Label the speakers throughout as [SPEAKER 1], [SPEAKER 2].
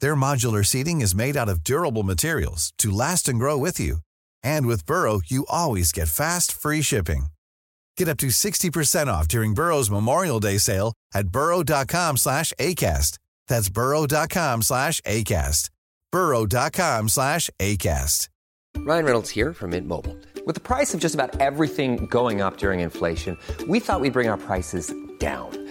[SPEAKER 1] Their modular seating is made out of durable materials to last and grow with you. And with Burrow, you always get fast, free shipping. Get up to 60% off during Burrow's Memorial Day sale at burrow.com slash ACAST. That's burrow.com slash ACAST. burrow.com slash ACAST.
[SPEAKER 2] Ryan Reynolds here from Mint Mobile. With the price of just about everything going up during inflation, we thought we'd bring our prices down.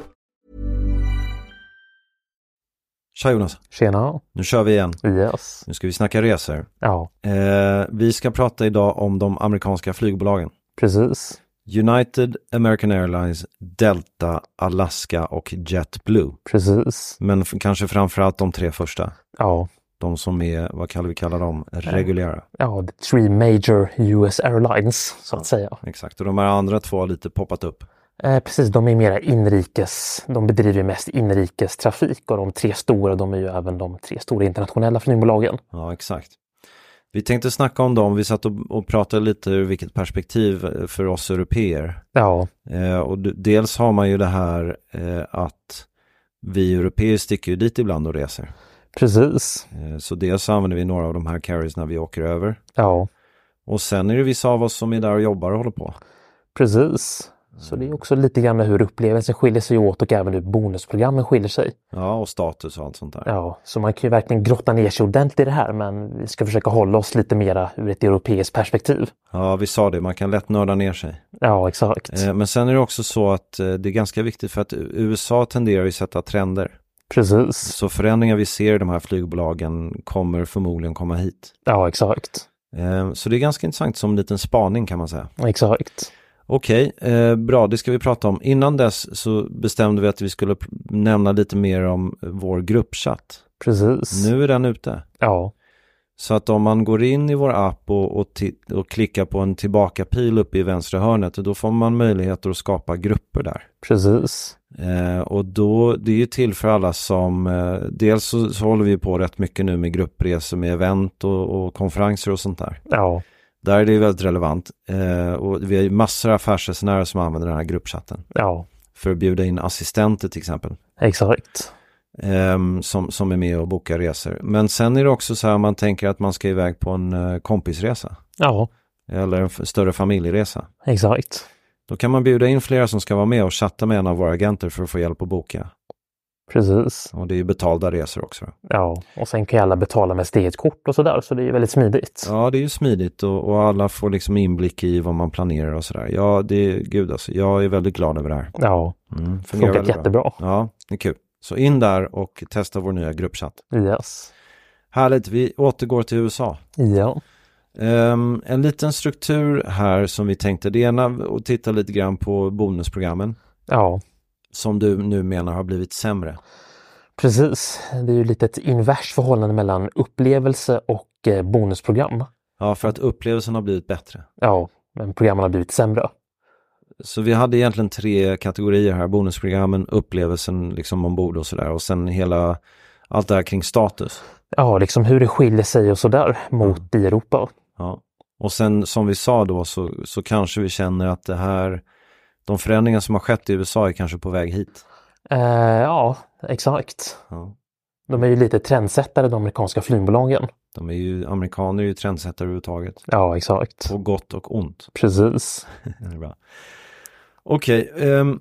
[SPEAKER 3] Tja Jonas,
[SPEAKER 4] Tjena.
[SPEAKER 3] nu kör vi igen.
[SPEAKER 4] Yes.
[SPEAKER 3] Nu ska vi snacka resor.
[SPEAKER 4] Ja,
[SPEAKER 3] Eh, vi ska prata idag om de amerikanska flygbolagen.
[SPEAKER 4] precis.
[SPEAKER 3] United, American Airlines, Delta, Alaska och JetBlue.
[SPEAKER 4] Precis.
[SPEAKER 3] Men f- kanske framförallt de tre första.
[SPEAKER 4] Ja.
[SPEAKER 3] De som är, vad kallar vi kallar dem, reguljära.
[SPEAKER 4] Ja, the three major US airlines, så att säga.
[SPEAKER 3] Exakt, och de här andra två har lite poppat upp.
[SPEAKER 4] Eh, precis, de är mera inrikes. De bedriver ju mest inrikestrafik och de tre stora, de är ju även de tre stora internationella flygbolagen.
[SPEAKER 3] Ja, exakt. Vi tänkte snacka om dem, vi satt och, och pratade lite ur vilket perspektiv eh, för oss europeer.
[SPEAKER 4] Ja,
[SPEAKER 3] Eh, och d- dels har man ju det här eh, att vi europeer sticker ju dit ibland och reser.
[SPEAKER 4] precis.
[SPEAKER 3] Eh, så dels använder vi några av de här carries när vi åker över.
[SPEAKER 4] Ja,
[SPEAKER 3] Och sen är det vissa av oss som är där och jobbar och håller på.
[SPEAKER 4] precis. Så det är också lite grann med hur upplevelsen skiljer sig åt och även hur bonusprogrammen skiljer sig.
[SPEAKER 3] Ja, och status och allt sånt där.
[SPEAKER 4] Ja, så man kan ju verkligen grotta ner sig ordentligt i det här, men vi ska försöka hålla oss lite mera ur ett europeiskt perspektiv.
[SPEAKER 3] Ja, vi sa det, man kan lätt nörda ner sig.
[SPEAKER 4] Ja, exakt.
[SPEAKER 3] Eh, men sen är det också så att eh, det är ganska viktigt för att USA tenderar ju sätta trender.
[SPEAKER 4] Precis.
[SPEAKER 3] Så förändringar vi ser i de här flygbolagen kommer förmodligen komma hit.
[SPEAKER 4] Ja, exakt.
[SPEAKER 3] Eh, så det är ganska intressant som en liten spaning kan man säga.
[SPEAKER 4] Exakt.
[SPEAKER 3] Okej, eh, bra, det ska vi prata om. Innan dess så bestämde vi att vi skulle pr- nämna lite mer om eh, vår gruppchatt.
[SPEAKER 4] Precis.
[SPEAKER 3] Nu är den ute.
[SPEAKER 4] Ja,
[SPEAKER 3] Så att om man går in i vår app och, och, ti- och klickar på en tillbaka-pil uppe i vänstra hörnet, då får man möjligheter att skapa grupper där.
[SPEAKER 4] precis.
[SPEAKER 3] Eh, och då, det är ju till för alla som, eh, dels så, så håller vi på rätt mycket nu med gruppresor med event och, och konferenser och sånt där.
[SPEAKER 4] Ja,
[SPEAKER 3] Där är det ju väldigt relevant. Eh, och vi har ju massor av affärsresenärer som använder den här gruppchatten.
[SPEAKER 4] ja,
[SPEAKER 3] För att bjuda in assistenter till exempel.
[SPEAKER 4] exakt.
[SPEAKER 3] ehm, som, som är med och bokar resor. Men sen är det också så här om man tänker att man ska iväg på en eh, kompisresa.
[SPEAKER 4] Ja,
[SPEAKER 3] Eller en f- större familjeresa.
[SPEAKER 4] exakt.
[SPEAKER 3] Då kan man bjuda in flera som ska vara med och chatta med en av våra agenter för att få hjälp att boka.
[SPEAKER 4] Precis.
[SPEAKER 3] Och det är ju betalda resor också. då.
[SPEAKER 4] Ja, och sen kan ju alla betala med sitt eget kort och sådär, så det är ju väldigt smidigt.
[SPEAKER 3] Ja, det är ju smidigt och, och alla får liksom inblick i vad man planerar och sådär. Ja, det är, gud alltså, jag är väldigt glad över det här.
[SPEAKER 4] Ja,
[SPEAKER 3] Mm, fungerar
[SPEAKER 4] funkat
[SPEAKER 3] väldigt bra.
[SPEAKER 4] jättebra.
[SPEAKER 3] Ja, det är kul. Så in där och testa vår nya gruppchatt.
[SPEAKER 4] Yes.
[SPEAKER 3] Härligt, vi återgår till USA.
[SPEAKER 4] Ja,
[SPEAKER 3] Ehm, en liten struktur här som vi tänkte, det ena och titta lite grann på bonusprogrammen
[SPEAKER 4] ja,
[SPEAKER 3] som du nu menar har blivit sämre.
[SPEAKER 4] precis. Det är ju lite ett invers förhållande mellan upplevelse och eh, bonusprogram.
[SPEAKER 3] Ja, för att upplevelsen har blivit bättre.
[SPEAKER 4] Ja, men programmen har blivit sämre.
[SPEAKER 3] Så vi hade egentligen tre kategorier här, bonusprogrammen, upplevelsen liksom ombord och sådär och sen hela allt det här kring status.
[SPEAKER 4] Ja, liksom hur det skiljer sig och sådär mot i Europa.
[SPEAKER 3] Ja. Och sen som vi sa då så, så kanske vi känner att det här, de förändringar som har skett i USA är kanske på väg hit.
[SPEAKER 4] Eh, ja, exakt.
[SPEAKER 3] Ja.
[SPEAKER 4] De är ju lite trendsättare, de amerikanska flygbolagen.
[SPEAKER 3] De är ju, amerikaner är ju trendsättare överhuvudtaget.
[SPEAKER 4] Ja, exakt.
[SPEAKER 3] På gott och ont.
[SPEAKER 4] Precis.
[SPEAKER 3] Det är bra. Okej, ehm,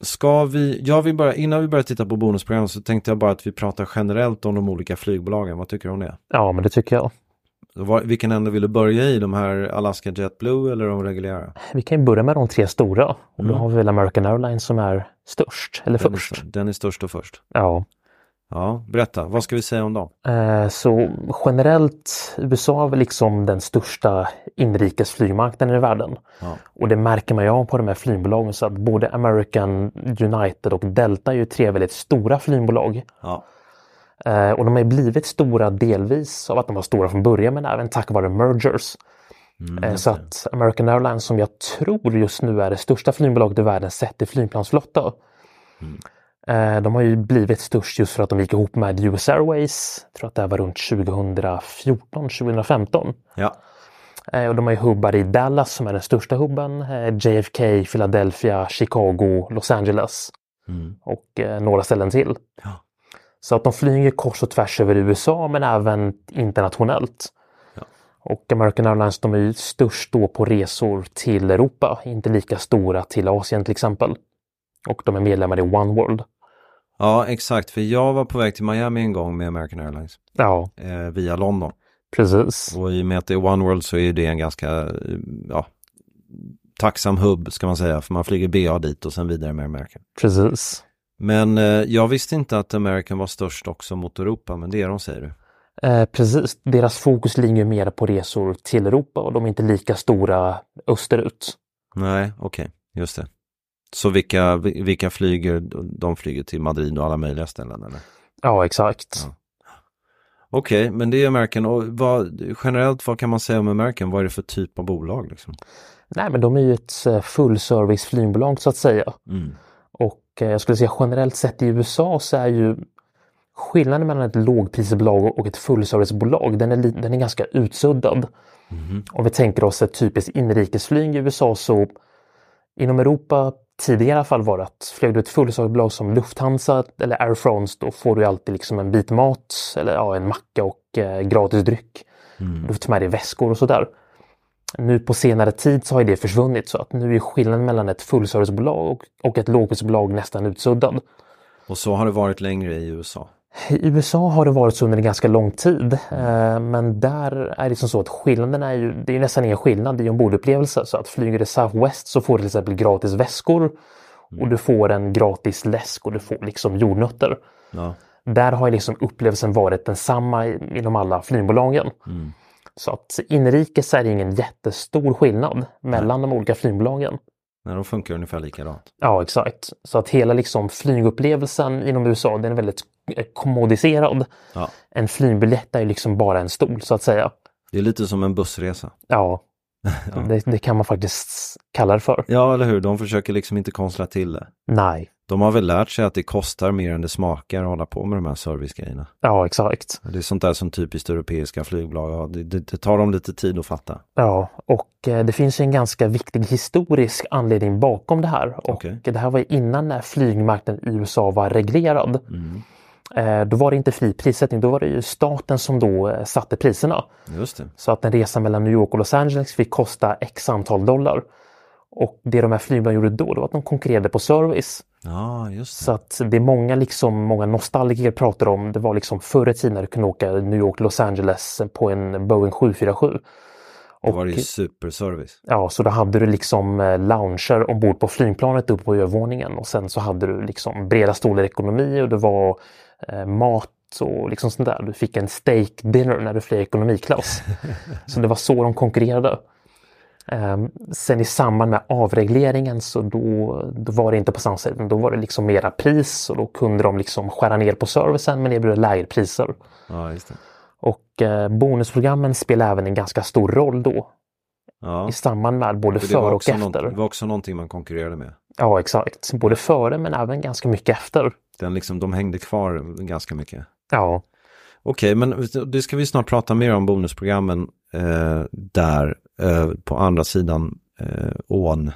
[SPEAKER 3] ska vi, jag vill bara, innan vi börjar titta på bonusprogram så tänkte jag bara att vi pratar generellt om de olika flygbolagen. Vad tycker du om det?
[SPEAKER 4] Ja, men det tycker jag.
[SPEAKER 3] Var, vilken ände vill du börja i? De här Alaska Jet Blue eller de reguljära?
[SPEAKER 4] Vi kan ju börja med de tre stora och då
[SPEAKER 3] Mm.
[SPEAKER 4] har vi väl American Airlines som är störst, eller
[SPEAKER 3] Den
[SPEAKER 4] först.
[SPEAKER 3] Är, den är störst och först.
[SPEAKER 4] Ja.
[SPEAKER 3] Ja, berätta. Vad ska vi säga om dem?
[SPEAKER 4] Eh, Så generellt, USA är väl liksom den största inrikesflygmarknaden i världen.
[SPEAKER 3] Ja.
[SPEAKER 4] Och det märker man ju av på de här flygbolagen så att både American, United och Delta är ju tre väldigt stora flygbolag.
[SPEAKER 3] Ja.
[SPEAKER 4] Eh, Och de har ju blivit stora delvis av att de var stora från början men även tack vare mergers. Eh, Så att American Airlines som jag tror just nu är det största flygbolaget i världen sett i flygplansflotta. Eh, De har ju blivit störst just för att de gick ihop med US Airways. Jag tror att det här var runt 2014, 2015.
[SPEAKER 3] ja.
[SPEAKER 4] Eh, Och de har ju hubbar i Dallas som är den största hubben, eh, JFK, Philadelphia, Chicago, Los Angeles och eh, några ställen till.
[SPEAKER 3] Ja.
[SPEAKER 4] Så att de flyger kors och tvärs över USA men även internationellt. Och American Airlines de är ju störst då på resor till Europa, inte lika stora till Asien till exempel. Och de är medlemmar i One World.
[SPEAKER 3] Ja, exakt. För jag var på väg till Miami en gång med American Airlines
[SPEAKER 4] Ja,
[SPEAKER 3] eh, via London.
[SPEAKER 4] precis.
[SPEAKER 3] Och i och med att det är One World så är ju det en ganska eh, ja, tacksam hubb ska man säga. För man flyger BA dit och sen vidare med American.
[SPEAKER 4] Precis.
[SPEAKER 3] Men eh, jag visste inte att American var störst också mot Europa, men det är de säger du.
[SPEAKER 4] Eh, precis, deras fokus ligger ju mer på resor till Europa och de är inte lika stora österut.
[SPEAKER 3] Nej, okej, just det. Så vilka, vi- vilka flyger, de flyger till Madrid och alla möjliga ställen eller?
[SPEAKER 4] Ja, exakt.
[SPEAKER 3] Ja. Okej, men det är American och vad, generellt vad kan man säga om American? Vad är det för typ av bolag liksom?
[SPEAKER 4] Nej, men de är ju ett eh, fullservice flygbolag så att säga.
[SPEAKER 3] Mm.
[SPEAKER 4] Och eh, jag skulle säga generellt sett i USA så är ju skillnaden mellan ett lågprisbolag och ett fullservicebolag den är, li- den är ganska utsuddad. Om vi tänker oss ett typiskt inrikesflyg i USA så inom Europa tidigare i alla fall var det att flög du ett fullservicebolag som Lufthansa eller Air France då får du ju alltid liksom en bit mat eller ja, en macka och eh, gratis dryck. Du får ta med dig väskor och sådär. Nu på senare tid så har ju det försvunnit så att nu är skillnaden mellan ett fullservicebolag och, och ett lågprisbolag nästan utsuddad.
[SPEAKER 3] Och så har det varit längre i USA.
[SPEAKER 4] I USA har det varit så under en ganska lång tid eh, men där är det som så att skillnaden är ju, det är ju nästan ingen skillnad i ombordupplevelse så att flyger du Southwest så får du till exempel gratis väskor och du får en gratis läsk och du får liksom jordnötter.
[SPEAKER 3] Ja.
[SPEAKER 4] Där har ju liksom upplevelsen varit densamma i- inom alla flygbolagen. Så att inrikes är det ingen jättestor skillnad mellan de olika flygbolagen.
[SPEAKER 3] Nej, de funkar ungefär likadant.
[SPEAKER 4] Ja, exakt. Så att hela liksom flygupplevelsen inom USA den är väldigt eh, kommodiserad.
[SPEAKER 3] Ja.
[SPEAKER 4] En flygbiljett är ju liksom bara en stol så att säga.
[SPEAKER 3] Det är lite som en bussresa.
[SPEAKER 4] Ja, Det, det kan man faktiskt kalla det för.
[SPEAKER 3] Ja, eller hur? De försöker liksom inte konstla till det.
[SPEAKER 4] Nej,
[SPEAKER 3] De har väl lärt sig att det kostar mer än det smakar att hålla på med de här servicegrejerna.
[SPEAKER 4] ja exakt.
[SPEAKER 3] Det är sånt där som typiskt europeiska flygbolag, ja, det, det, det tar dem lite tid att fatta.
[SPEAKER 4] Ja, och eh, det finns ju en ganska viktig historisk anledning bakom det här. Och
[SPEAKER 3] Okej.
[SPEAKER 4] Det här var ju innan när flygmarknaden i USA var reglerad. Eh, Då var det inte fri prissättning, då var det ju staten som då eh, satte priserna.
[SPEAKER 3] Just det.
[SPEAKER 4] Så att en resa mellan New York och Los Angeles fick kosta x antal dollar. Och det de här flygbolagen gjorde då, det var att de konkurrerade på service.
[SPEAKER 3] Ja, just det.
[SPEAKER 4] Så att det är många, liksom, många nostalgiker pratar om, det var liksom förr i tiden när du kunde åka New York, Los Angeles på en Boeing 747.
[SPEAKER 3] Då var det ju superservice.
[SPEAKER 4] Ja, så då hade du liksom eh, lounger ombord på flygplanet upp på övervåningen och sen så hade du liksom breda stolar i ekonomi och det var eh, mat och liksom sånt där. Du fick en steak dinner när du flög ekonomiklass. så det var så de konkurrerade. Ehm, sen i samband med avregleringen så då, då var det inte på samma sätt. utan Då var det liksom mera pris och då kunde de liksom skära ner på servicen men erbjuda lägre priser.
[SPEAKER 3] Ja, just det.
[SPEAKER 4] Och eh, bonusprogrammen spelade även en ganska stor roll då
[SPEAKER 3] Ja.
[SPEAKER 4] i samband med både
[SPEAKER 3] För
[SPEAKER 4] före och
[SPEAKER 3] också
[SPEAKER 4] efter.
[SPEAKER 3] någon- det var också någonting man konkurrerade med.
[SPEAKER 4] Ja, exakt. Både före men även ganska mycket efter.
[SPEAKER 3] Den liksom, de hängde kvar ganska mycket.
[SPEAKER 4] Ja,
[SPEAKER 3] Okej, men det ska vi snart prata mer om bonusprogrammen eh, där eh, på andra sidan eh, ån.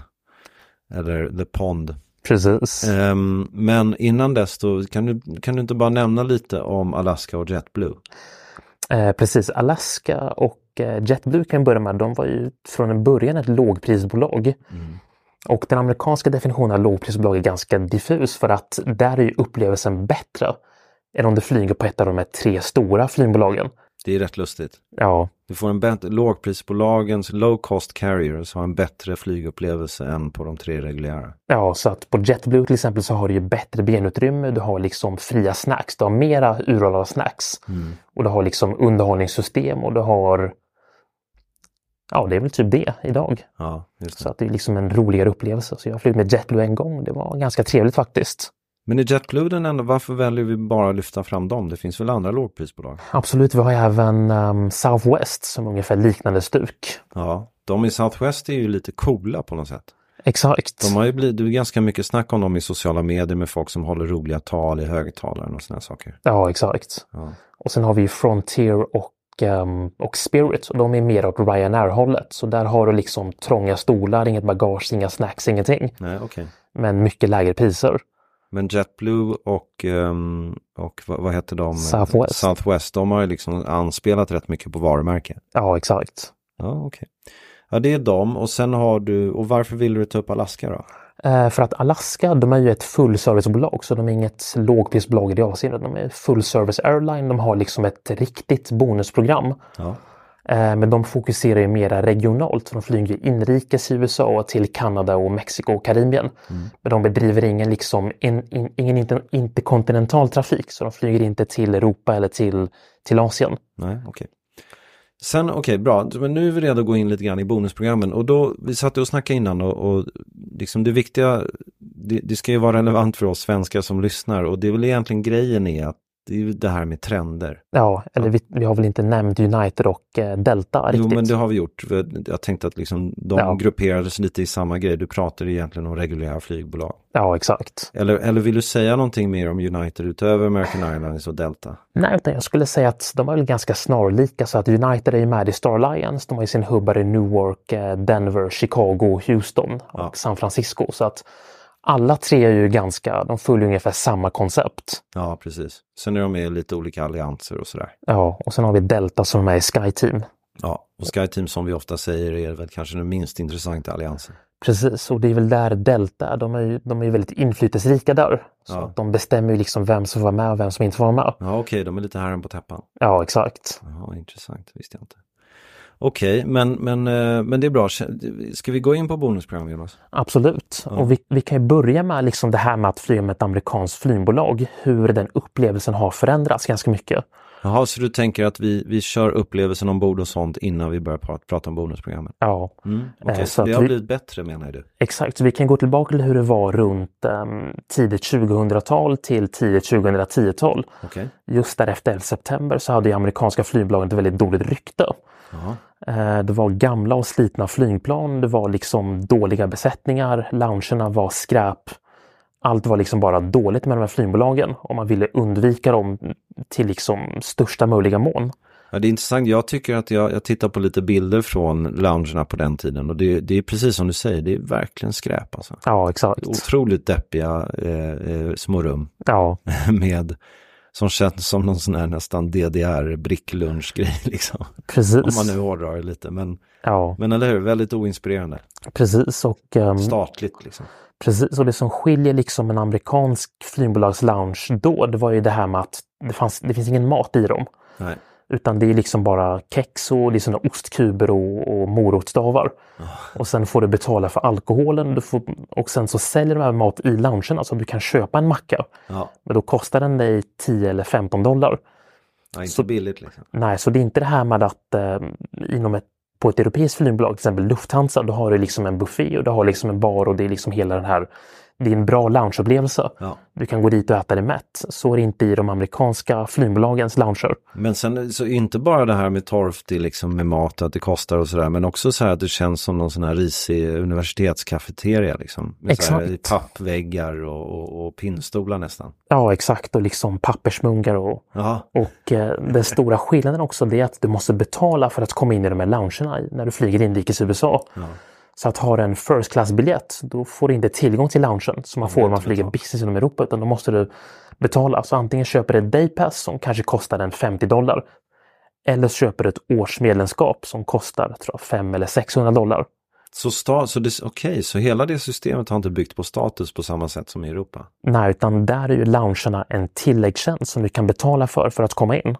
[SPEAKER 3] Eller the pond.
[SPEAKER 4] precis.
[SPEAKER 3] Ehm, men innan dess då, kan du, kan du inte bara nämna lite om Alaska och JetBlue?
[SPEAKER 4] Eh, precis. Alaska och eh, JetBlue kan jag börja med. De var ju från en början ett lågprisbolag. Och den amerikanska definitionen av lågprisbolag är ganska diffus för att där är ju upplevelsen bättre än om du flyger på ett av de här tre stora flygbolagen.
[SPEAKER 3] Det är rätt lustigt.
[SPEAKER 4] Ja,
[SPEAKER 3] Du får en bättre, lågprisbolagens low cost carriers har en bättre flygupplevelse än på de tre reguljära.
[SPEAKER 4] ja, så att på JetBlue till exempel så har du ju bättre benutrymme. Du har liksom fria snacks. Du har mera urval av snacks.
[SPEAKER 3] Mm.
[SPEAKER 4] Och du har liksom underhållningssystem och du har... Ja, det är väl typ det idag.
[SPEAKER 3] Ja, just det.
[SPEAKER 4] Så att det är liksom en roligare upplevelse. Så jag flög med JetBlue en gång. Det var ganska trevligt faktiskt.
[SPEAKER 3] Men är JetBlue den enda, varför väljer vi bara att lyfta fram dem? Det finns väl andra lågprisbolag?
[SPEAKER 4] Absolut, vi har ju även ehm, Southwest som ungefär liknande stuk.
[SPEAKER 3] Ja, de i Southwest är ju lite coola på något sätt.
[SPEAKER 4] Exakt.
[SPEAKER 3] De har ju blivit, det är ganska mycket snack om dem i sociala medier med folk som håller roliga tal i högtalaren och sådana saker.
[SPEAKER 4] Ja, exakt.
[SPEAKER 3] Ja.
[SPEAKER 4] Och sen har vi ju Frontier och, ehm, och Spirit och de är mer åt Ryanair-hållet. Så där har du liksom trånga stolar, inget bagage, inga snacks, ingenting.
[SPEAKER 3] Nej, okej.
[SPEAKER 4] Men mycket lägre priser.
[SPEAKER 3] Men JetBlue och, ehm, och vad, vad heter de?
[SPEAKER 4] Southwest.
[SPEAKER 3] Southwest, de har ju liksom anspelat rätt mycket på varumärke.
[SPEAKER 4] Ja, exakt.
[SPEAKER 3] Ja, okej. Ja, det är dem och sen har du, och varför vill du ta upp Alaska då?
[SPEAKER 4] Eh, för att Alaska, de är ju ett fullservicebolag så de är inget lågprisbolag i det avseendet. De är fullservice airline. De har liksom ett riktigt bonusprogram.
[SPEAKER 3] Ja.
[SPEAKER 4] Eh, Men de fokuserar ju mera regionalt. för De flyger ju inrikes i USA till Kanada och Mexiko och Karibien.
[SPEAKER 3] Mm.
[SPEAKER 4] Men de bedriver ingen, liksom, in, in, ingen inter, interkontinental trafik. Så de flyger inte till Europa eller till, till Asien.
[SPEAKER 3] Nej, okej. Sen, okej, bra. Men nu är vi redo att gå in lite grann i bonusprogrammen. Och då, vi satt och snackade innan och, och liksom det viktiga, det, det ska ju vara relevant för oss svenskar som lyssnar. Och det är väl egentligen grejen är att det är ju det här med trender.
[SPEAKER 4] Ja, eller vi, vi har väl inte nämnt United och eh, Delta riktigt.
[SPEAKER 3] Jo, men det har vi gjort. För Jag tänkte att liksom de
[SPEAKER 4] Ja.
[SPEAKER 3] grupperades lite i samma grej. Du pratar egentligen om reguljära flygbolag.
[SPEAKER 4] Ja, exakt.
[SPEAKER 3] Eller, eller vill du säga någonting mer om United utöver American Airlines och Delta?
[SPEAKER 4] Nej, utan jag skulle säga att de är väl ganska snarlika. Så att United är ju med i Star Alliance. De har ju sin hubbar i Newark, eh, Denver, Chicago, Houston och
[SPEAKER 3] Ja.
[SPEAKER 4] San Francisco. Så att alla tre är ju ganska, de följer ungefär samma koncept.
[SPEAKER 3] Ja, precis. Sen är de med i lite olika allianser och sådär.
[SPEAKER 4] Ja, och sen har vi Delta som är med i SkyTeam.
[SPEAKER 3] Ja, och SkyTeam som vi ofta säger är väl kanske den minst intressanta alliansen.
[SPEAKER 4] Precis, och det är väl där Delta är. De är ju, de är ju väldigt inflytelserika där. Så
[SPEAKER 3] Ja.
[SPEAKER 4] att de bestämmer ju liksom vem som får vara med och vem som inte får vara med.
[SPEAKER 3] Ja, okej, de är lite herren på täppan.
[SPEAKER 4] Ja, exakt.
[SPEAKER 3] Ja, intressant, det visste jag inte. Okej, men, men, eh, men det är bra. Ska vi gå in på bonusprogram, Jonas?
[SPEAKER 4] Absolut.
[SPEAKER 3] Mm.
[SPEAKER 4] Och vi, vi kan ju börja med liksom det här med att flyga med ett amerikanskt flygbolag. Hur den upplevelsen har förändrats ganska mycket.
[SPEAKER 3] Jaha, så du tänker att vi, vi kör upplevelsen ombord och sånt innan vi börjar pra- prata om bonusprogrammen?
[SPEAKER 4] Ja,
[SPEAKER 3] Mm, okej,
[SPEAKER 4] Eh, så
[SPEAKER 3] så det
[SPEAKER 4] att
[SPEAKER 3] har
[SPEAKER 4] vi-
[SPEAKER 3] blivit bättre menar du?
[SPEAKER 4] exakt. Så vi kan gå tillbaka till hur det var runt um, tidigt 2000-tal till tidigt 2010-tal.
[SPEAKER 3] Okej,
[SPEAKER 4] Just därefter 11 september så hade ju amerikanska flygbolagen ett väldigt dåligt rykte.
[SPEAKER 3] ja,
[SPEAKER 4] Eh, Det var gamla och slitna flygplan, det var liksom dåliga besättningar, loungerna var skräp. Allt var liksom bara dåligt med de här flygbolagen och man ville undvika dem till liksom största möjliga mån.
[SPEAKER 3] Ja, det är intressant. Jag tycker att jag, jag tittar på lite bilder från loungerna på den tiden och det, det är precis som du säger, det är verkligen skräp alltså.
[SPEAKER 4] Ja, exakt.
[SPEAKER 3] Otroligt deppiga eh, eh, små rum
[SPEAKER 4] Ja,
[SPEAKER 3] med, som känns som någon sån här nästan DDR-bricklunchgrej liksom. Om man
[SPEAKER 4] precis.
[SPEAKER 3] nu hårdrar det lite, men,
[SPEAKER 4] Ja,
[SPEAKER 3] men eller hur, väldigt oinspirerande.
[SPEAKER 4] precis. Och, ehm,
[SPEAKER 3] Statligt liksom.
[SPEAKER 4] precis. och det som skiljer liksom en amerikansk flygbolagslounge då, det var ju det här med att det, fanns, det finns ingen mat i dem.
[SPEAKER 3] Nej.
[SPEAKER 4] Utan det är liksom bara kex och det är såna ostkuber och, och morotstavar. Och sen får du betala för alkoholen. Du får, och sen så säljer de här mat i loungen. Alltså du kan köpa en macka.
[SPEAKER 3] Ja,
[SPEAKER 4] Men då kostar den dig 10 eller 15 dollar.
[SPEAKER 3] ja inte
[SPEAKER 4] Så-
[SPEAKER 3] billigt liksom.
[SPEAKER 4] Nej, så det är inte det här med att eh, inom ett, på ett europeiskt flygbolag, till exempel Lufthansa, då har du liksom en buffé och du har liksom en bar och det är liksom hela den här... Det är en bra loungeupplevelse.
[SPEAKER 3] Ja.
[SPEAKER 4] Du kan gå dit och äta dig mätt. Så är det inte i de amerikanska flygbolagens lounger.
[SPEAKER 3] Men sen så inte bara det här med torft det är liksom med mat och att det kostar och sådär men också så här att det känns som någon sån här risig universitetskafeteria liksom. Med så här
[SPEAKER 4] Exakt.
[SPEAKER 3] pappväggar och, och, och pinnstolar nästan.
[SPEAKER 4] Ja, exakt. Och liksom pappersmungar och
[SPEAKER 3] Ja,
[SPEAKER 4] Och eh, den stora skillnaden också det är att du måste betala för att komma in i de här loungerna i- när du flyger inrikes i USA. Så att ha en first class-biljett, då får du inte tillgång till loungen som man får om man flyger business inom Europa, utan då måste du betala. Så antingen köper du ett daypass som kanske kostar en 50 dollar, eller så köper du ett årsmedlemskap som kostar tror jag, 500 eller 600 dollar.
[SPEAKER 3] så, sta- så det- okej, så hela det systemet har inte byggt på status på samma sätt som i Europa.
[SPEAKER 4] Nej, utan där är ju loungerna en tilläggstjänst som du kan betala för för att komma in.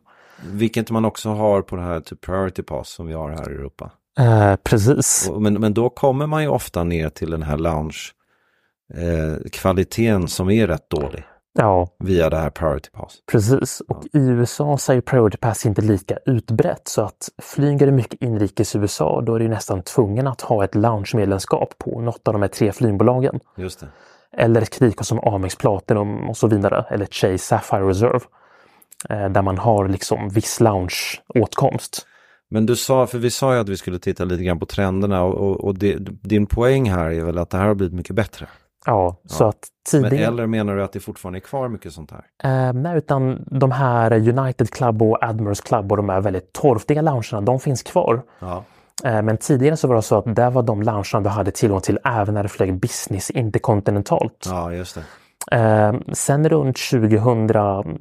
[SPEAKER 3] Vilket man också har på det här typ priority pass som vi har här i Europa.
[SPEAKER 4] Eh, precis.
[SPEAKER 3] Och, men, men då kommer man ju ofta ner till den här lounge-kvaliteten som är rätt dålig
[SPEAKER 4] Ja,
[SPEAKER 3] via det här priority pass.
[SPEAKER 4] precis. Och i USA så är ju priority pass inte lika utbrett så att flyger du mycket inrikes i USA då är du nästan tvungen att ha ett lounge-medlemskap på något av de här tre flygbolagen.
[SPEAKER 3] Just det.
[SPEAKER 4] eller ett kreditkort som Amex Platinum och så vidare, eller Chase Sapphire Reserve. eh, Där man har liksom viss lounge-åtkomst.
[SPEAKER 3] Men du sa, för vi sa ju att vi skulle titta lite grann på trenderna och, och, och det, din poäng här är väl att det här har blivit mycket bättre.
[SPEAKER 4] Ja, så att
[SPEAKER 3] Men,
[SPEAKER 4] tidigare...
[SPEAKER 3] eller menar du att det fortfarande är kvar mycket sånt här?
[SPEAKER 4] Eh, nej, utan de här United Club och Admirals Club och de här väldigt torftiga loungerna, de finns kvar.
[SPEAKER 3] Ja.
[SPEAKER 4] Eh, men tidigare så var det så att där var de loungerna du hade tillgång till även när du flög business interkontinentalt.
[SPEAKER 3] Ja, just det.
[SPEAKER 4] Eh, sen runt 2000,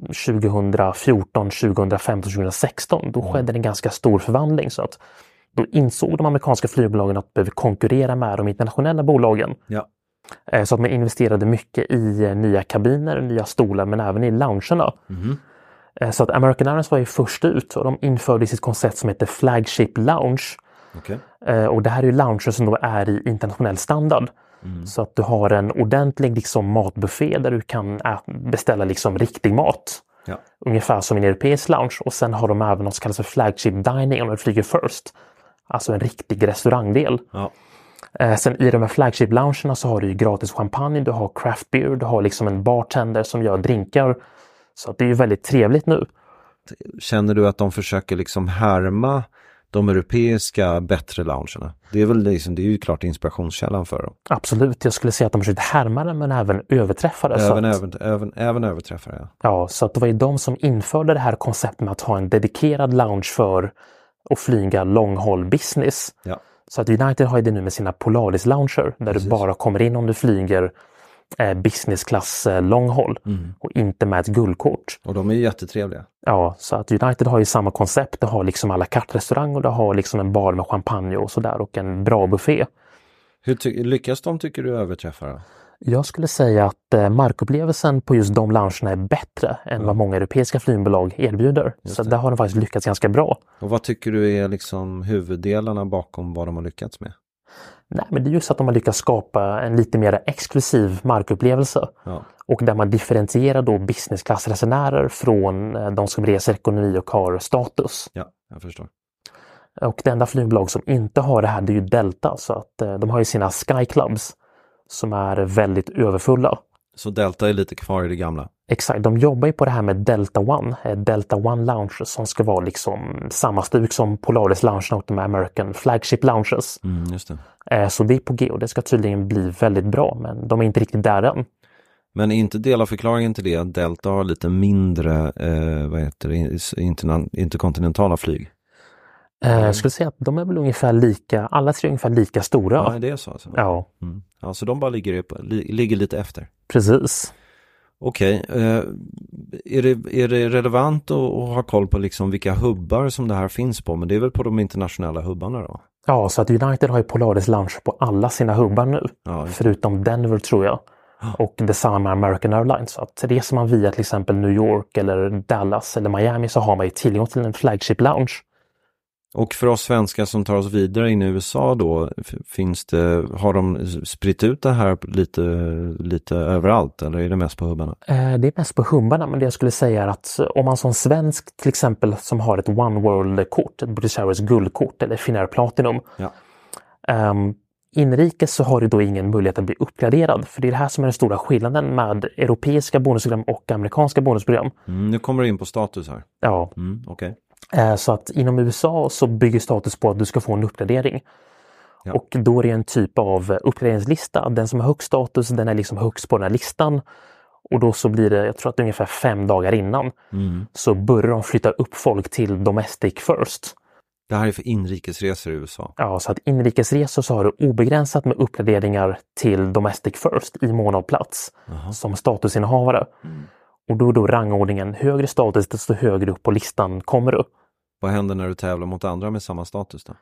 [SPEAKER 4] 2014, 2015, 2016, då skedde en ganska stor förvandling. Så att då insåg de amerikanska flygbolagen att de behöver konkurrera med de internationella bolagen.
[SPEAKER 3] Ja.
[SPEAKER 4] Eh, så att man investerade mycket i eh, nya kabiner, nya stolar men även i loungerna. Eh, så att American Airlines var ju först ut och de införde sitt koncept som heter Flagship Lounge.
[SPEAKER 3] Okej.
[SPEAKER 4] Eh, Och det här är ju lounger som då är i internationell standard. Så att du har en ordentlig liksom, matbuffé där du kan ä- beställa liksom, riktig mat.
[SPEAKER 3] Ja.
[SPEAKER 4] Ungefär som i en europeisk lounge. Och sen har de även något som kallas för flagship dining om du flyger first. Alltså en riktig restaurangdel.
[SPEAKER 3] Ja.
[SPEAKER 4] Eh, sen i de här flagship loungerna så har du ju gratis champagne, du har craft beer, du har liksom en bartender som gör drinkar. Så att det är ju väldigt trevligt nu.
[SPEAKER 3] Känner du att de försöker liksom härma de europeiska bättre loungerna? Det är väl liksom, det är ju klart inspirationskällan för dem.
[SPEAKER 4] Absolut, jag skulle säga att de försökte härma den men även överträffa det. så
[SPEAKER 3] Även,
[SPEAKER 4] att...
[SPEAKER 3] även, även, även överträffar jag.
[SPEAKER 4] Ja, så att det var ju de som införde det här konceptet med att ha en dedikerad lounge för att flyga long haul business.
[SPEAKER 3] Ja.
[SPEAKER 4] Så att United har ju det nu med sina Polaris lounger där du bara kommer in om du flyger eh, business class eh, long haul och inte med ett guldkort.
[SPEAKER 3] Och de är ju jättetrevliga.
[SPEAKER 4] Ja, så att United har ju samma koncept. Det har liksom à la carte restaurang och det har liksom en bar med champagne och sådär och en bra buffé.
[SPEAKER 3] Hur ty- lyckas de tycker du överträffa då?
[SPEAKER 4] Jag skulle säga att eh, markupplevelsen på just de loungerna är bättre än vad många europeiska flygbolag erbjuder. så där har de faktiskt lyckats ganska bra.
[SPEAKER 3] Och vad tycker du är liksom huvuddelarna bakom vad de har lyckats med?
[SPEAKER 4] Nej, men det är just att de har lyckats skapa en lite mer exklusiv markupplevelse.
[SPEAKER 3] Ja.
[SPEAKER 4] Och där man differentierar då business class-resenärer från eh, de som reser ekonomi och har status.
[SPEAKER 3] Ja, jag förstår.
[SPEAKER 4] Och det enda flygbolag som inte har det här det är ju Delta. Så att eh, de har ju sina Sky Clubs som är väldigt överfulla.
[SPEAKER 3] Så Delta är lite kvar i det gamla?
[SPEAKER 4] Exakt, de jobbar ju på det här med Delta One, eh, Delta One Lounge som ska vara liksom samma stuk som Polaris Lounge och de här American Flagship Lounges.
[SPEAKER 3] Mm, just det.
[SPEAKER 4] Eh, Så det är på G och det ska tydligen bli väldigt bra men de är inte riktigt där än.
[SPEAKER 3] Men är inte del av förklaringen till det att Delta har lite mindre, eh, vad heter det, interna- interkontinentala flyg?
[SPEAKER 4] Eh,
[SPEAKER 3] Mm.
[SPEAKER 4] Jag skulle säga att de är väl ungefär lika, alla tre är ungefär lika stora.
[SPEAKER 3] Ja,
[SPEAKER 4] Ja,
[SPEAKER 3] det är så alltså? Mm. Ja, så de bara ligger, upp, li, ligger lite efter?
[SPEAKER 4] precis.
[SPEAKER 3] Okej, eh, är, det, är det relevant att, att ha koll på liksom vilka hubbar som det här finns på? Men det är väl på de internationella hubbarna då?
[SPEAKER 4] Ja, så att United har ju Polaris Lounge på alla sina hubbar nu.
[SPEAKER 3] Ja, just
[SPEAKER 4] Förutom Denver tror jag. Och detsamma med American Airlines. Så att reser man via till exempel New York eller Dallas eller Miami så har man ju tillgång till en flagship lounge.
[SPEAKER 3] Och för oss svenskar som tar oss vidare in i USA då, f- finns det, har de spritt ut det här lite, lite överallt eller är det mest på hubbarna?
[SPEAKER 4] Eh, Det är mest på humbarna, men det jag skulle säga är att om man som svensk till exempel som har ett One World-kort, ett British Airways guldkort eller Finnair Platinum.
[SPEAKER 3] Ja.
[SPEAKER 4] ehm, inrikes så har du då ingen möjlighet att bli uppgraderad, för det är det här som är den stora skillnaden med europeiska bonusprogram och amerikanska bonusprogram.
[SPEAKER 3] Mm, nu kommer du in på status här.
[SPEAKER 4] Ja,
[SPEAKER 3] Mm, Okej.
[SPEAKER 4] Eh, Så att inom USA så bygger status på att du ska få en uppgradering.
[SPEAKER 3] Ja.
[SPEAKER 4] Och då är det en typ av uppgraderingslista. Den som har högst status, den är liksom högst på den här listan. Och då så blir det, jag tror att det är ungefär fem dagar innan, så börjar de flytta upp folk till domestic first.
[SPEAKER 3] Det här är för inrikesresor i USA.
[SPEAKER 4] Ja, så att inrikesresor så har du obegränsat med uppgraderingar till domestic first i mån av plats som statusinnehavare.
[SPEAKER 3] Mm.
[SPEAKER 4] Och då är då rangordningen högre status desto högre upp på listan kommer du.
[SPEAKER 3] Vad händer när du tävlar mot andra med samma status då?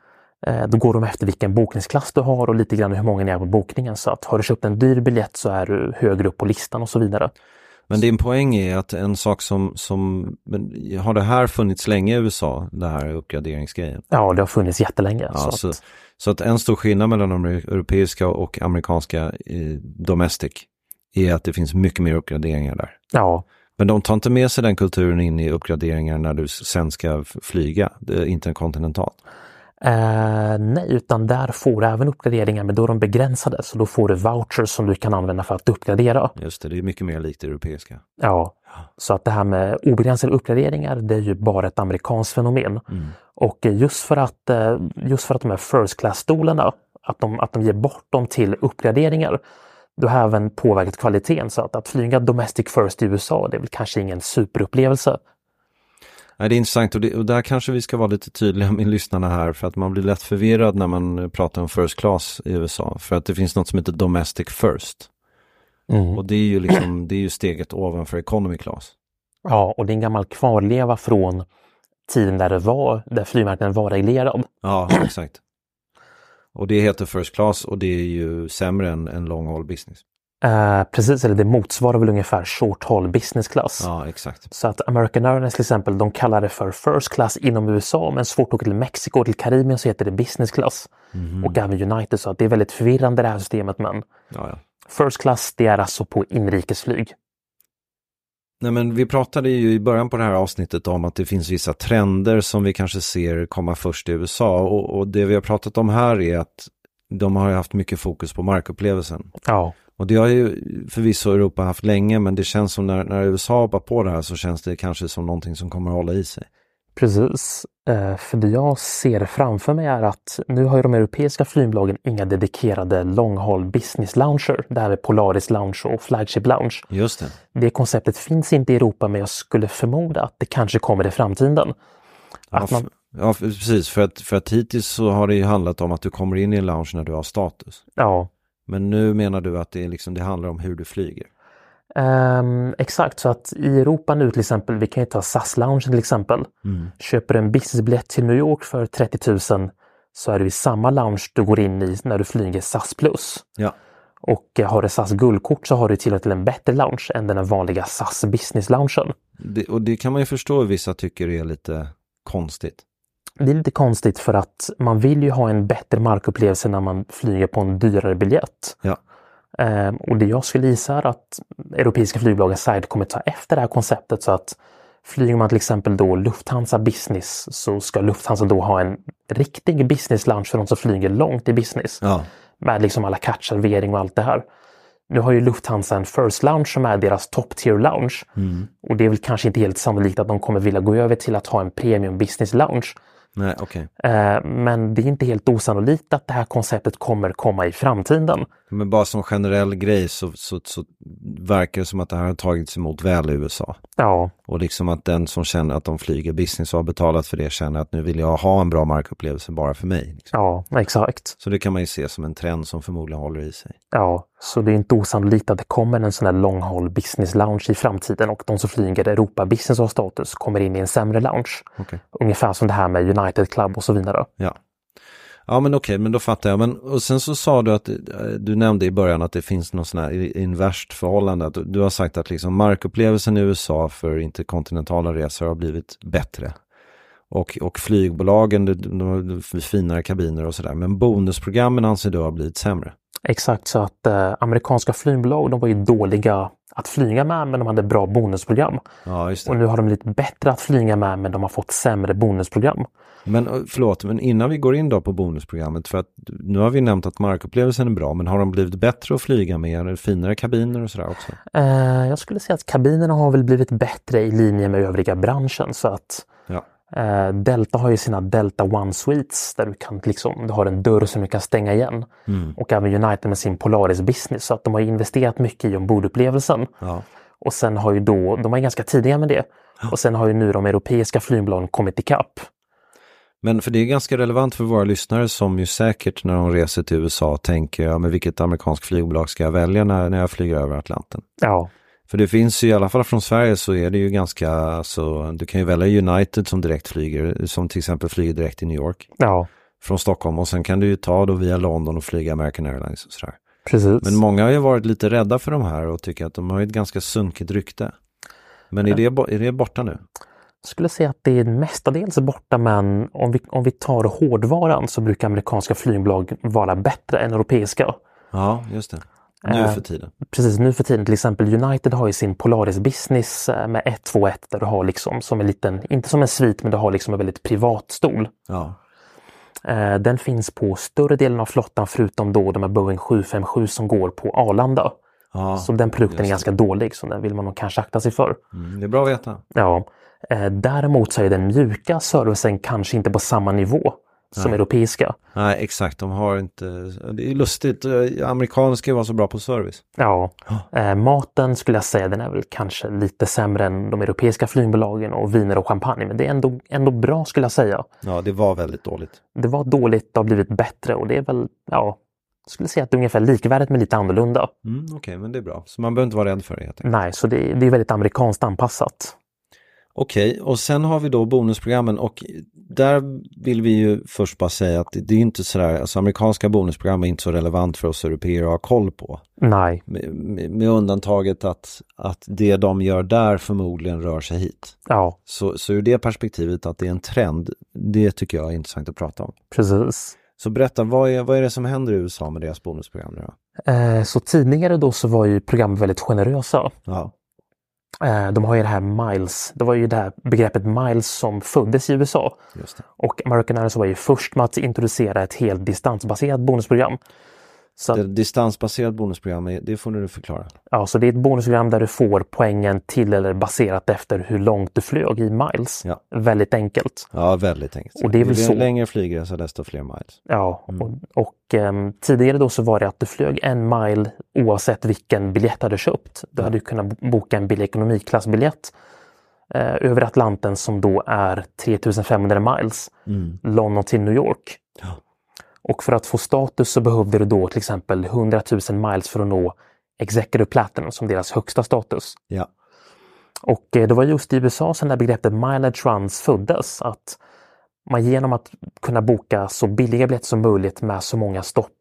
[SPEAKER 4] Eh, Då går de efter vilken bokningsklass du har och lite grann hur många ni är på bokningen. Så att har du köpt en dyr biljett så är du högre upp på listan och så vidare.
[SPEAKER 3] Men din poäng är att en sak som, som men har det här funnits länge i USA, det här uppgraderingsgrejen?
[SPEAKER 4] Ja, det har funnits jättelänge.
[SPEAKER 3] Ja,
[SPEAKER 4] så
[SPEAKER 3] så,
[SPEAKER 4] att,
[SPEAKER 3] så att en stor skillnad mellan de europeiska och amerikanska eh, domestic är att det finns mycket mer uppgraderingar där.
[SPEAKER 4] ja,
[SPEAKER 3] Men de tar inte med sig den kulturen in i uppgraderingar när du sen ska f- flyga, det är inte en kontinental.
[SPEAKER 4] Eh, nej, utan där får du även uppgraderingar, men då är de begränsade. Så då får du vouchers som du kan använda för att uppgradera.
[SPEAKER 3] Just det, det är mycket mer likt det europeiska.
[SPEAKER 4] Ja, så att det här med obegränsade uppgraderingar, det är ju bara ett amerikanskt fenomen. Och eh, just för att, eh, just för att de här first class-stolarna, att de, att de ger bort dem till uppgraderingar, då har även påverkat kvaliteten. Så att, att flyga domestic first i USA, det är väl kanske ingen superupplevelse.
[SPEAKER 3] Nej, det är intressant och, det, och där kanske vi ska vara lite tydliga med lyssnarna här för att man blir lätt förvirrad när man pratar om first class i USA för att det finns något som heter domestic first. Och det är ju liksom, det är ju steget ovanför economy class.
[SPEAKER 4] Ja, och det är en gammal kvarleva från tiden där det var, där flygmarknaden var reglerad.
[SPEAKER 3] Ja, exakt. Och det heter first class och det är ju sämre än, än long haul business.
[SPEAKER 4] Eh, precis, eller det motsvarar väl ungefär short haul business class.
[SPEAKER 3] Ja, exakt.
[SPEAKER 4] Så att American Airlines till exempel, de kallar det för first class inom USA, men så fort du åker till Mexiko och till Karibien så heter det business class. Och även United, så att det är väldigt förvirrande det här systemet. Men
[SPEAKER 3] Ja, ja.
[SPEAKER 4] first class, det är alltså på inrikesflyg.
[SPEAKER 3] Nej, men vi pratade ju i början på det här avsnittet om att det finns vissa trender som vi kanske ser komma först i USA och, och det vi har pratat om här är att de har ju haft mycket fokus på markupplevelsen.
[SPEAKER 4] Ja,
[SPEAKER 3] Och det har ju förvisso Europa haft länge men det känns som när, när USA hoppar på det här så känns det kanske som någonting som kommer att hålla i sig.
[SPEAKER 4] precis. Eh, för det jag ser framför mig är att nu har ju de europeiska flygbolagen inga dedikerade long haul business lounger. Det här med Polaris lounge och flagship lounge.
[SPEAKER 3] Just det.
[SPEAKER 4] Det konceptet finns inte i Europa, men jag skulle förmoda att det kanske kommer i framtiden.
[SPEAKER 3] Ja,
[SPEAKER 4] Att man-
[SPEAKER 3] f- ja f- precis, för att, för att hittills så har det ju handlat om att du kommer in i en lounge när du har status.
[SPEAKER 4] Ja,
[SPEAKER 3] Men nu menar du att det, är liksom, det handlar om hur du flyger.
[SPEAKER 4] Ehm, exakt, så att i Europa nu till exempel, vi kan ju ta SAS-loungen till exempel. Köper du en businessbiljett till New York för 30 000 så är det i samma lounge du går in i när du flyger SAS Plus.
[SPEAKER 3] Ja.
[SPEAKER 4] Och eh, har du SAS guldkort så har du tillgång till en bättre lounge än den vanliga SAS business-loungen.
[SPEAKER 3] Det, och det kan man ju förstå hur vissa tycker är lite konstigt.
[SPEAKER 4] Det är lite konstigt för att man vill ju ha en bättre markupplevelse när man flyger på en dyrare biljett.
[SPEAKER 3] Ja.
[SPEAKER 4] Ehm, och det jag skulle gissa är att europeiska flygbolag side kommer ta efter det här konceptet så att flyger man till exempel då Lufthansa Business så ska Lufthansa då ha en riktig business lounge för de som flyger långt i business
[SPEAKER 3] Ja.
[SPEAKER 4] med liksom alla servering och allt det här. Nu har ju Lufthansa en First Lounge som är deras top tier lounge och det är väl kanske inte helt sannolikt att de kommer vilja gå över till att ha en premium business lounge.
[SPEAKER 3] Nej, okej.
[SPEAKER 4] Eh, Men det är inte helt osannolikt att det här konceptet kommer komma i framtiden.
[SPEAKER 3] Men bara som generell grej så, så, så verkar det som att det här har tagits emot väl i USA.
[SPEAKER 4] Ja,
[SPEAKER 3] Och liksom att den som känner att de flyger business och har betalat för det känner att nu vill jag ha en bra markupplevelse bara för mig. Liksom.
[SPEAKER 4] ja, exakt.
[SPEAKER 3] Så det kan man ju se som en trend som förmodligen håller i sig.
[SPEAKER 4] Ja, så det är inte osannolikt att det kommer en sån här long haul business lounge i framtiden och de som flyger Europa business och status kommer in i en sämre lounge.
[SPEAKER 3] Okej.
[SPEAKER 4] Ungefär som det här med United Club och så vidare.
[SPEAKER 3] Ja. Ja men okej, men då fattar jag. Men, och sen så sa du att, eh, du nämnde i början att det finns något sån här i- inverst förhållande. Att du, du har sagt att liksom markupplevelsen i USA för interkontinentala resor har blivit bättre. Och, och flygbolagen, de, de, har finare kabiner och sådär. Men bonusprogrammen anser du har blivit sämre.
[SPEAKER 4] Exakt, så att eh, amerikanska flygbolag de var ju dåliga att flyga med men de hade bra bonusprogram.
[SPEAKER 3] Ja, just
[SPEAKER 4] Och
[SPEAKER 3] det.
[SPEAKER 4] nu har de lite bättre att flyga med men de har fått sämre bonusprogram.
[SPEAKER 3] Men eh, förlåt, men innan vi går in då på bonusprogrammet, för att nu har vi nämnt att markupplevelsen är bra, men har de blivit bättre att flyga med? Är det Finare kabiner och sådär också?
[SPEAKER 4] Eh, jag skulle säga att kabinerna har väl blivit bättre i linje med övriga branschen så att
[SPEAKER 3] Ja.
[SPEAKER 4] eh, Delta har ju sina Delta One Suites där du kan liksom, du har en dörr som du kan stänga igen. Och även United med sin Polaris Business så att de har investerat mycket i ombordupplevelsen.
[SPEAKER 3] ja.
[SPEAKER 4] Och sen har ju då, de var ganska tidiga med det. Och sen har ju nu de europeiska flygbolagen kommit ikapp.
[SPEAKER 3] Men för det är ganska relevant för våra lyssnare som ju säkert när de reser till USA tänker, ja men vilket amerikanskt flygbolag ska jag välja när, när jag flyger över Atlanten?
[SPEAKER 4] Ja,
[SPEAKER 3] För det finns ju i alla fall från Sverige så är det ju ganska, alltså, du kan ju välja United som direkt flyger, som till exempel flyger direkt i New York
[SPEAKER 4] ja,
[SPEAKER 3] från Stockholm och sen kan du ju ta då via London och flyga American Airlines och sådär.
[SPEAKER 4] Precis.
[SPEAKER 3] Men många har ju varit lite rädda för de här och tycker att de har ju ett ganska sunkigt rykte. Men är det, bo- är det borta nu?
[SPEAKER 4] Jag skulle säga att det är mestadels borta men om vi, om vi tar hårdvaran så brukar amerikanska flygbolag vara bättre än europeiska.
[SPEAKER 3] Ja, just det. Nu
[SPEAKER 4] Eh,
[SPEAKER 3] för tiden.
[SPEAKER 4] Precis nu för tiden till exempel United har ju sin Polaris Business eh, med 121 där du har liksom som en liten, inte som en svit men du har liksom en väldigt privat stol.
[SPEAKER 3] Ja.
[SPEAKER 4] Eh, Den finns på större delen av flottan förutom då de här Boeing 757 som går på Arlanda.
[SPEAKER 3] ja.
[SPEAKER 4] så den produkten är
[SPEAKER 3] just
[SPEAKER 4] ganska dålig så den vill man nog kanske akta sig för.
[SPEAKER 3] Mm, det är bra att veta.
[SPEAKER 4] Ja. Eh, Däremot så är den mjuka servicen kanske inte på samma nivå som europeiska.
[SPEAKER 3] Nej, exakt. De har inte... Det är ju lustigt. Eh, Amerikaner ska ju vara så bra på service.
[SPEAKER 4] Ja. Eh, Maten skulle jag säga den är väl kanske lite sämre än de europeiska flygbolagen och viner och champagne men det är ändå, ändå bra skulle jag säga.
[SPEAKER 3] Ja, det var väldigt dåligt.
[SPEAKER 4] Det var dåligt, det har blivit bättre och det är väl, ja, jag skulle säga att det är ungefär likvärdigt men lite annorlunda.
[SPEAKER 3] Mm, Okej, men det är bra. Så man behöver inte vara rädd för det helt enkelt.
[SPEAKER 4] Nej, så det, det är väldigt amerikanskt anpassat.
[SPEAKER 3] Okej, och sen har vi då bonusprogrammen och där vill vi ju först bara säga att det är inte sådär, alltså amerikanska bonusprogram är inte så relevant för oss europeer att ha koll på.
[SPEAKER 4] Nej,
[SPEAKER 3] Med, med- med undantaget att, att det de gör där förmodligen rör sig hit.
[SPEAKER 4] ja,
[SPEAKER 3] Så, så ur det perspektivet att det är en trend, det tycker jag är intressant att prata om.
[SPEAKER 4] precis.
[SPEAKER 3] Så berätta, vad är, vad är det som händer i USA med deras bonusprogram nu då?
[SPEAKER 4] Eh, så tidigare då så var ju programmen väldigt generösa.
[SPEAKER 3] Ja,
[SPEAKER 4] Eh, de har ju det här miles, det var ju det här begreppet miles som föddes i USA.
[SPEAKER 3] just det.
[SPEAKER 4] Och American Airlines var ju först med att introducera ett helt distansbaserat bonusprogram. Så, att,
[SPEAKER 3] det distansbaserat bonusprogram, är- det får du förklara.
[SPEAKER 4] ja, så det är ett bonusprogram där du får poängen till eller baserat efter hur långt du flög i miles.
[SPEAKER 3] Ja.
[SPEAKER 4] Väldigt enkelt.
[SPEAKER 3] Ja, väldigt enkelt.
[SPEAKER 4] Och det är väl
[SPEAKER 3] Ju
[SPEAKER 4] så-
[SPEAKER 3] längre flygresa desto fler miles.
[SPEAKER 4] Ja, och, och ehm, tidigare då så var det att du flög en mile oavsett vilken biljett du hade köpt. Du hade ju kunnat bo- boka en billig ekonomiklassbiljett eh, över Atlanten som då är 3500 miles, London till New York. Och för att få status så behövde du då till exempel 100 000 miles för att nå Executive Platinum som deras högsta status.
[SPEAKER 3] Ja.
[SPEAKER 4] Och eh, det var just i USA som det här begreppet mileage runs föddes. Att man genom att kunna boka så billiga biljetter som möjligt med så många stopp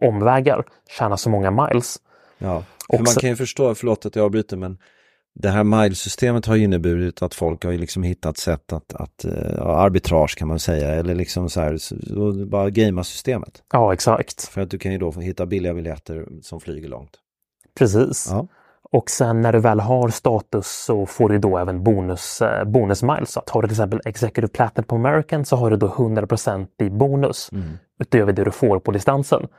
[SPEAKER 4] och omvägar tjänar så många miles.
[SPEAKER 3] Ja, för
[SPEAKER 4] Och
[SPEAKER 3] man
[SPEAKER 4] så-
[SPEAKER 3] kan ju förstå, förlåt att jag avbryter, men det här milesystemet har ju inneburit att folk har ju liksom hittat sätt att, att eh, ja, arbitrage kan man säga, eller liksom så här, så- så bara gamea systemet.
[SPEAKER 4] Ja, exakt.
[SPEAKER 3] För att du kan ju då få hitta billiga biljetter som flyger långt.
[SPEAKER 4] Precis.
[SPEAKER 3] Ja,
[SPEAKER 4] Och sen när du väl har status så får du då även bonus, eh, bonus miles. Så att har du till exempel Executive Platinum på American så har du då 100 i bonus utöver det du får på distansen.
[SPEAKER 3] Mm.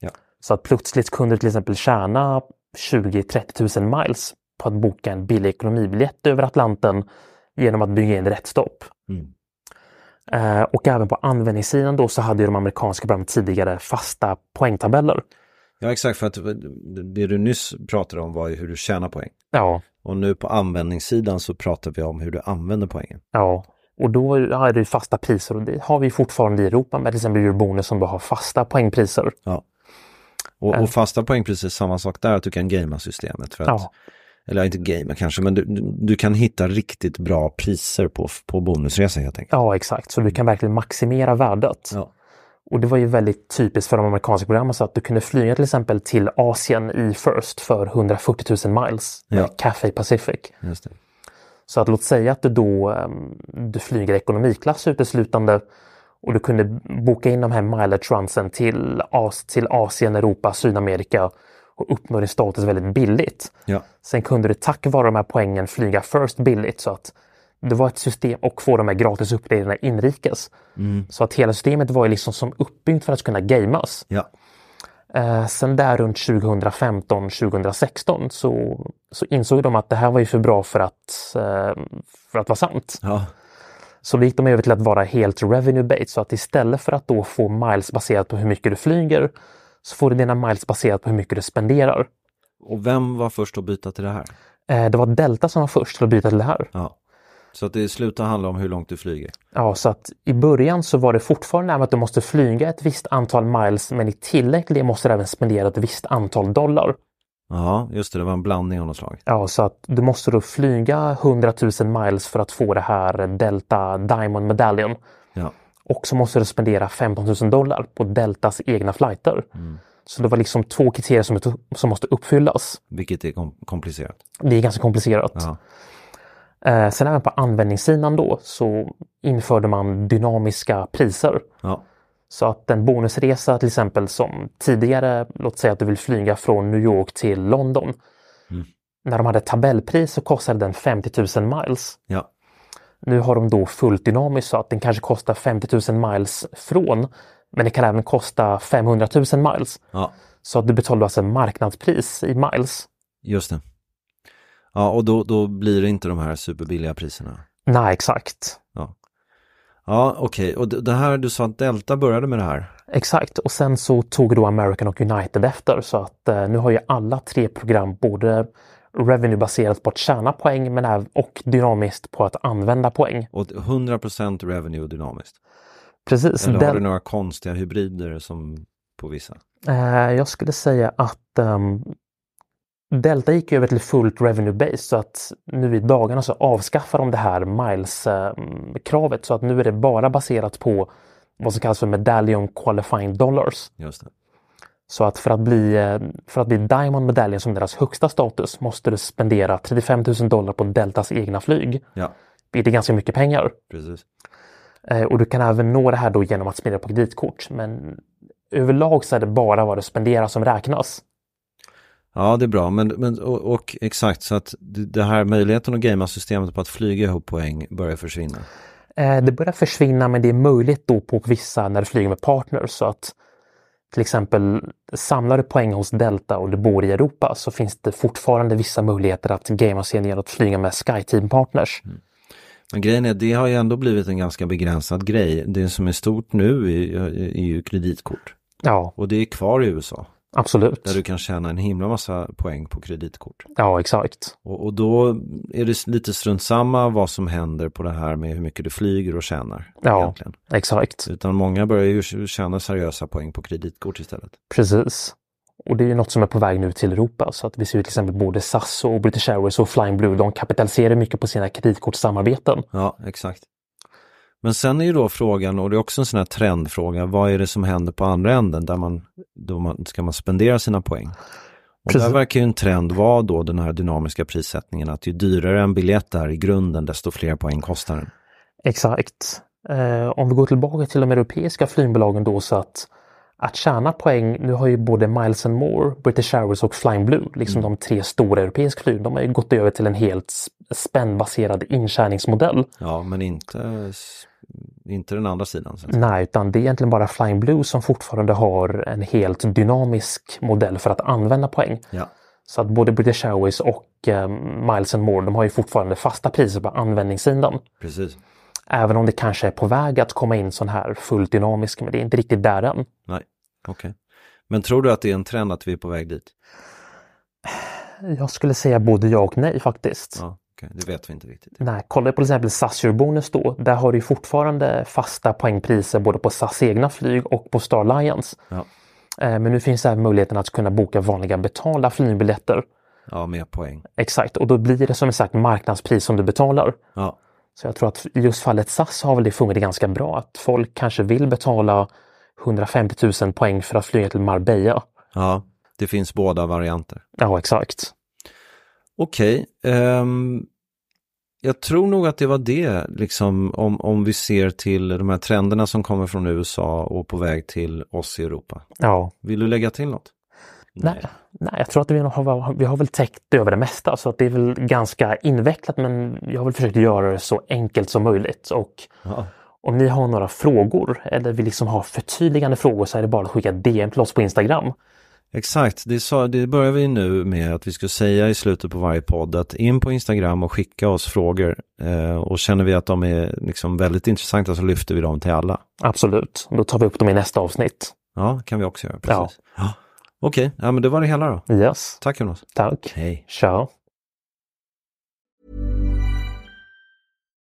[SPEAKER 3] Ja.
[SPEAKER 4] Så att plötsligt kunde du till exempel tjäna 20-30 000 miles på att boka en billig ekonomibiljett över Atlanten genom att bygga in rätt stopp.
[SPEAKER 3] Mm.
[SPEAKER 4] Eh, och även på användningssidan då så hade ju de amerikanska programmen tidigare fasta poängtabeller.
[SPEAKER 3] ja exakt, för att eh, det du nyss pratade om var ju hur du tjänar poäng.
[SPEAKER 4] Ja,
[SPEAKER 3] Och nu på användningssidan så pratar vi om hur du använder poängen.
[SPEAKER 4] Ja, och då är det ju fasta priser och det har vi fortfarande i Europa med till exempel Eurobonus som då har fasta poängpriser.
[SPEAKER 3] Ja. Och, och fasta poängpriser är samma sak där, att du kan gamea systemet. För att,
[SPEAKER 4] Ja.
[SPEAKER 3] Eller inte gamea kanske, men du, du, du kan hitta riktigt bra priser på, på bonusresor helt enkelt.
[SPEAKER 4] Ja, exakt. Så du kan verkligen maximera värdet.
[SPEAKER 3] Ja.
[SPEAKER 4] Och det var ju väldigt typiskt för de amerikanska programmen så att du kunde flyga till exempel till Asien i First för 140 000 miles med
[SPEAKER 3] Ja.
[SPEAKER 4] Cathay Pacific.
[SPEAKER 3] Just det.
[SPEAKER 4] Så att låt säga att du då ehm, du flyger ekonomiklass uteslutande och du kunde boka in de här mileage runsen till, As- till Asien, Europa, Sydamerika och uppnå din status väldigt billigt.
[SPEAKER 3] Ja.
[SPEAKER 4] Sen kunde du tack vare de här poängen flyga first billigt så att det var ett system och få de här gratis uppgraderingarna inrikes. Så att hela systemet var ju liksom som uppbyggt för att kunna gamas.
[SPEAKER 3] ja.
[SPEAKER 4] Eh, sen där runt 2015, 2016 så, så insåg de att det här var ju för bra för att, eh, för att vara sant.
[SPEAKER 3] Ja.
[SPEAKER 4] Så då gick de över till att vara helt revenue-based så att istället för att då få miles baserat på hur mycket du flyger så får du dina miles baserat på hur mycket du spenderar.
[SPEAKER 3] Och vem var först att byta till det här?
[SPEAKER 4] Eh, det var Delta som var först till att byta till det här.
[SPEAKER 3] Ja. Så att det slutar handla om hur långt du flyger.
[SPEAKER 4] Ja, så att i början så var det fortfarande det här med att du måste flyga ett visst antal miles men i tillägg till det måste du även spendera ett visst antal dollar.
[SPEAKER 3] Ja, just det, det var en blandning av något slag.
[SPEAKER 4] Ja, så att du måste då flyga 100 000 miles för att få det här Delta Diamond medaljen.
[SPEAKER 3] Ja.
[SPEAKER 4] Och så måste du spendera 15 000 dollar på Deltas egna flighter. Så det var liksom två kriterier som, som måste uppfyllas.
[SPEAKER 3] Vilket är kom- komplicerat.
[SPEAKER 4] Det är ganska komplicerat.
[SPEAKER 3] Ja.
[SPEAKER 4] Eh, sen även på användningssidan då så införde man dynamiska priser.
[SPEAKER 3] Ja.
[SPEAKER 4] Så att en bonusresa till exempel som tidigare, låt säga att du vill flyga från New York till London. När de hade tabellpris så kostade den 50 000 miles.
[SPEAKER 3] ja.
[SPEAKER 4] Nu har de då fullt dynamiskt så att den kanske kostar 50 000 miles från, men det kan även kosta 500 000 miles.
[SPEAKER 3] Ja.
[SPEAKER 4] Så att du betalar alltså marknadspris i miles.
[SPEAKER 3] Just det. Ja, och då, då blir det inte de här superbilliga priserna.
[SPEAKER 4] Nej, exakt.
[SPEAKER 3] Ja, ja okej. Och det det här, du sa att Delta började med det här.
[SPEAKER 4] Exakt, och sen så tog då American och United efter så att eh, nu har ju alla tre program både revenue-baserat på att tjäna poäng men även och dynamiskt på att använda poäng.
[SPEAKER 3] Och 100% revenue dynamiskt.
[SPEAKER 4] Precis.
[SPEAKER 3] Eller har
[SPEAKER 4] den-
[SPEAKER 3] du några konstiga hybrider som på vissa?
[SPEAKER 4] Eh, jag skulle säga att ehm, Delta gick över till fullt revenue base så att nu i dagarna så avskaffar de det här miles-kravet så att nu är det bara baserat på vad som kallas för medallion qualifying dollars.
[SPEAKER 3] Just det.
[SPEAKER 4] Så att för att bli, eh, för att bli Diamond medaljen som deras högsta status måste du spendera 35 000 dollar på Deltas egna flyg.
[SPEAKER 3] Ja,
[SPEAKER 4] Vilket är ganska mycket pengar.
[SPEAKER 3] precis.
[SPEAKER 4] Eh, Och du kan även nå det här då genom att spendera på kreditkort. Men överlag så är det bara vad du spenderar som räknas.
[SPEAKER 3] Ja, det är bra. Men, men, och, och exakt, så att det det här möjligheten att gamea systemet på att flyga ihop poäng börjar försvinna.
[SPEAKER 4] Eh, Det börjar försvinna men det är möjligt då på vissa när du flyger med partners. Så att till exempel samlar du poäng hos Delta och du bor i Europa så finns det fortfarande vissa möjligheter att gamea sig genom att flyga med SkyTeam-partners.
[SPEAKER 3] Men grejen är, det har ju ändå blivit en ganska begränsad grej. Det som är stort nu är, är ju kreditkort.
[SPEAKER 4] Ja,
[SPEAKER 3] Och det är kvar i USA,
[SPEAKER 4] absolut.
[SPEAKER 3] där du kan tjäna en himla massa poäng på kreditkort.
[SPEAKER 4] Ja, exakt.
[SPEAKER 3] Och, och då är det lite strunt samma vad som händer på det här med hur mycket du flyger och tjänar.
[SPEAKER 4] Ja,
[SPEAKER 3] Egentligen.
[SPEAKER 4] exakt.
[SPEAKER 3] Utan många börjar ju tjäna seriösa poäng på kreditkort istället.
[SPEAKER 4] Precis. Och det är ju något som är på väg nu till Europa. Så att vi ser ju till exempel både SAS och British Airways och Flying Blue. De kapitaliserar mycket på sina kreditkortssamarbeten.
[SPEAKER 3] Ja, exakt. Men sen är ju då frågan, och det är också en sån här trendfråga, vad är det som händer på andra änden där man, då man ska man spendera sina poäng? Och där
[SPEAKER 4] Precis.
[SPEAKER 3] verkar ju en trend vara då den här dynamiska prissättningen, att ju dyrare en biljett är i grunden, desto fler poäng kostar den.
[SPEAKER 4] Exakt. Eh, om vi går tillbaka till de europeiska flygbolagen då så att att tjäna poäng, nu har ju både Miles and More, British Airways och Flying Blue, liksom de tre stora europeiska flyg, de har ju gått över till en helt s- spänbaserad intjäningsmodell.
[SPEAKER 3] Ja, men inte, inte den andra sidan. Så att säga.
[SPEAKER 4] Nej, utan det är egentligen bara Flying Blue som fortfarande har en helt dynamisk modell för att använda poäng.
[SPEAKER 3] Ja,
[SPEAKER 4] Så att både British Airways och eh, Miles and More, de har ju fortfarande fasta priser på användningssidan.
[SPEAKER 3] precis.
[SPEAKER 4] Även om det kanske är på väg att komma in sån här fullt dynamisk, men det är inte riktigt där än.
[SPEAKER 3] Nej, okej. Men tror du att det är en trend att vi är på väg dit?
[SPEAKER 4] Jag skulle säga både ja och nej faktiskt.
[SPEAKER 3] Ja, okej. Det vet vi inte riktigt.
[SPEAKER 4] Nej, kolla på till exempel SAS Eurobonus då. Där har du ju fortfarande fasta poängpriser både på SAS egna flyg och på Star Alliance.
[SPEAKER 3] Ja,
[SPEAKER 4] Eh, Men nu finns även möjligheten att kunna boka vanliga betalda flygbiljetter.
[SPEAKER 3] ja med poäng.
[SPEAKER 4] Exakt, och då blir det som sagt marknadspris som du betalar.
[SPEAKER 3] Ja,
[SPEAKER 4] Så jag tror att i just fallet SAS har väl det fungerat ganska bra. Att folk kanske vill betala 150 000 poäng för att flyga till Marbella.
[SPEAKER 3] ja. det finns båda varianter.
[SPEAKER 4] Ja, exakt.
[SPEAKER 3] Okej, ehm, jag tror nog att det var det, liksom, om, om vi ser till de här trenderna som kommer från USA och på väg till oss i Europa.
[SPEAKER 4] Ja.
[SPEAKER 3] Vill du lägga till något?
[SPEAKER 4] Nej. Nej, jag tror att vi har, vi har väl täckt över det mesta så att det är väl ganska invecklat men jag har väl försökt göra det så enkelt som möjligt. Och
[SPEAKER 3] Ja.
[SPEAKER 4] om ni har några frågor eller vill liksom ha förtydligande frågor så är det bara att skicka DM till oss på Instagram.
[SPEAKER 3] Exakt, det, sa, det börjar vi nu med att vi ska säga i slutet på varje podd att in på Instagram och skicka oss frågor. Eh, och känner vi att de är liksom väldigt intressanta så lyfter vi dem till alla.
[SPEAKER 4] Absolut, då tar vi upp dem i nästa avsnitt.
[SPEAKER 3] Ja, kan vi också göra. Precis. Ja. Okej, ja, men det var det hela då.
[SPEAKER 4] Yes,
[SPEAKER 3] Tack Jonas.
[SPEAKER 4] tack.
[SPEAKER 3] Hej.
[SPEAKER 4] Ciao.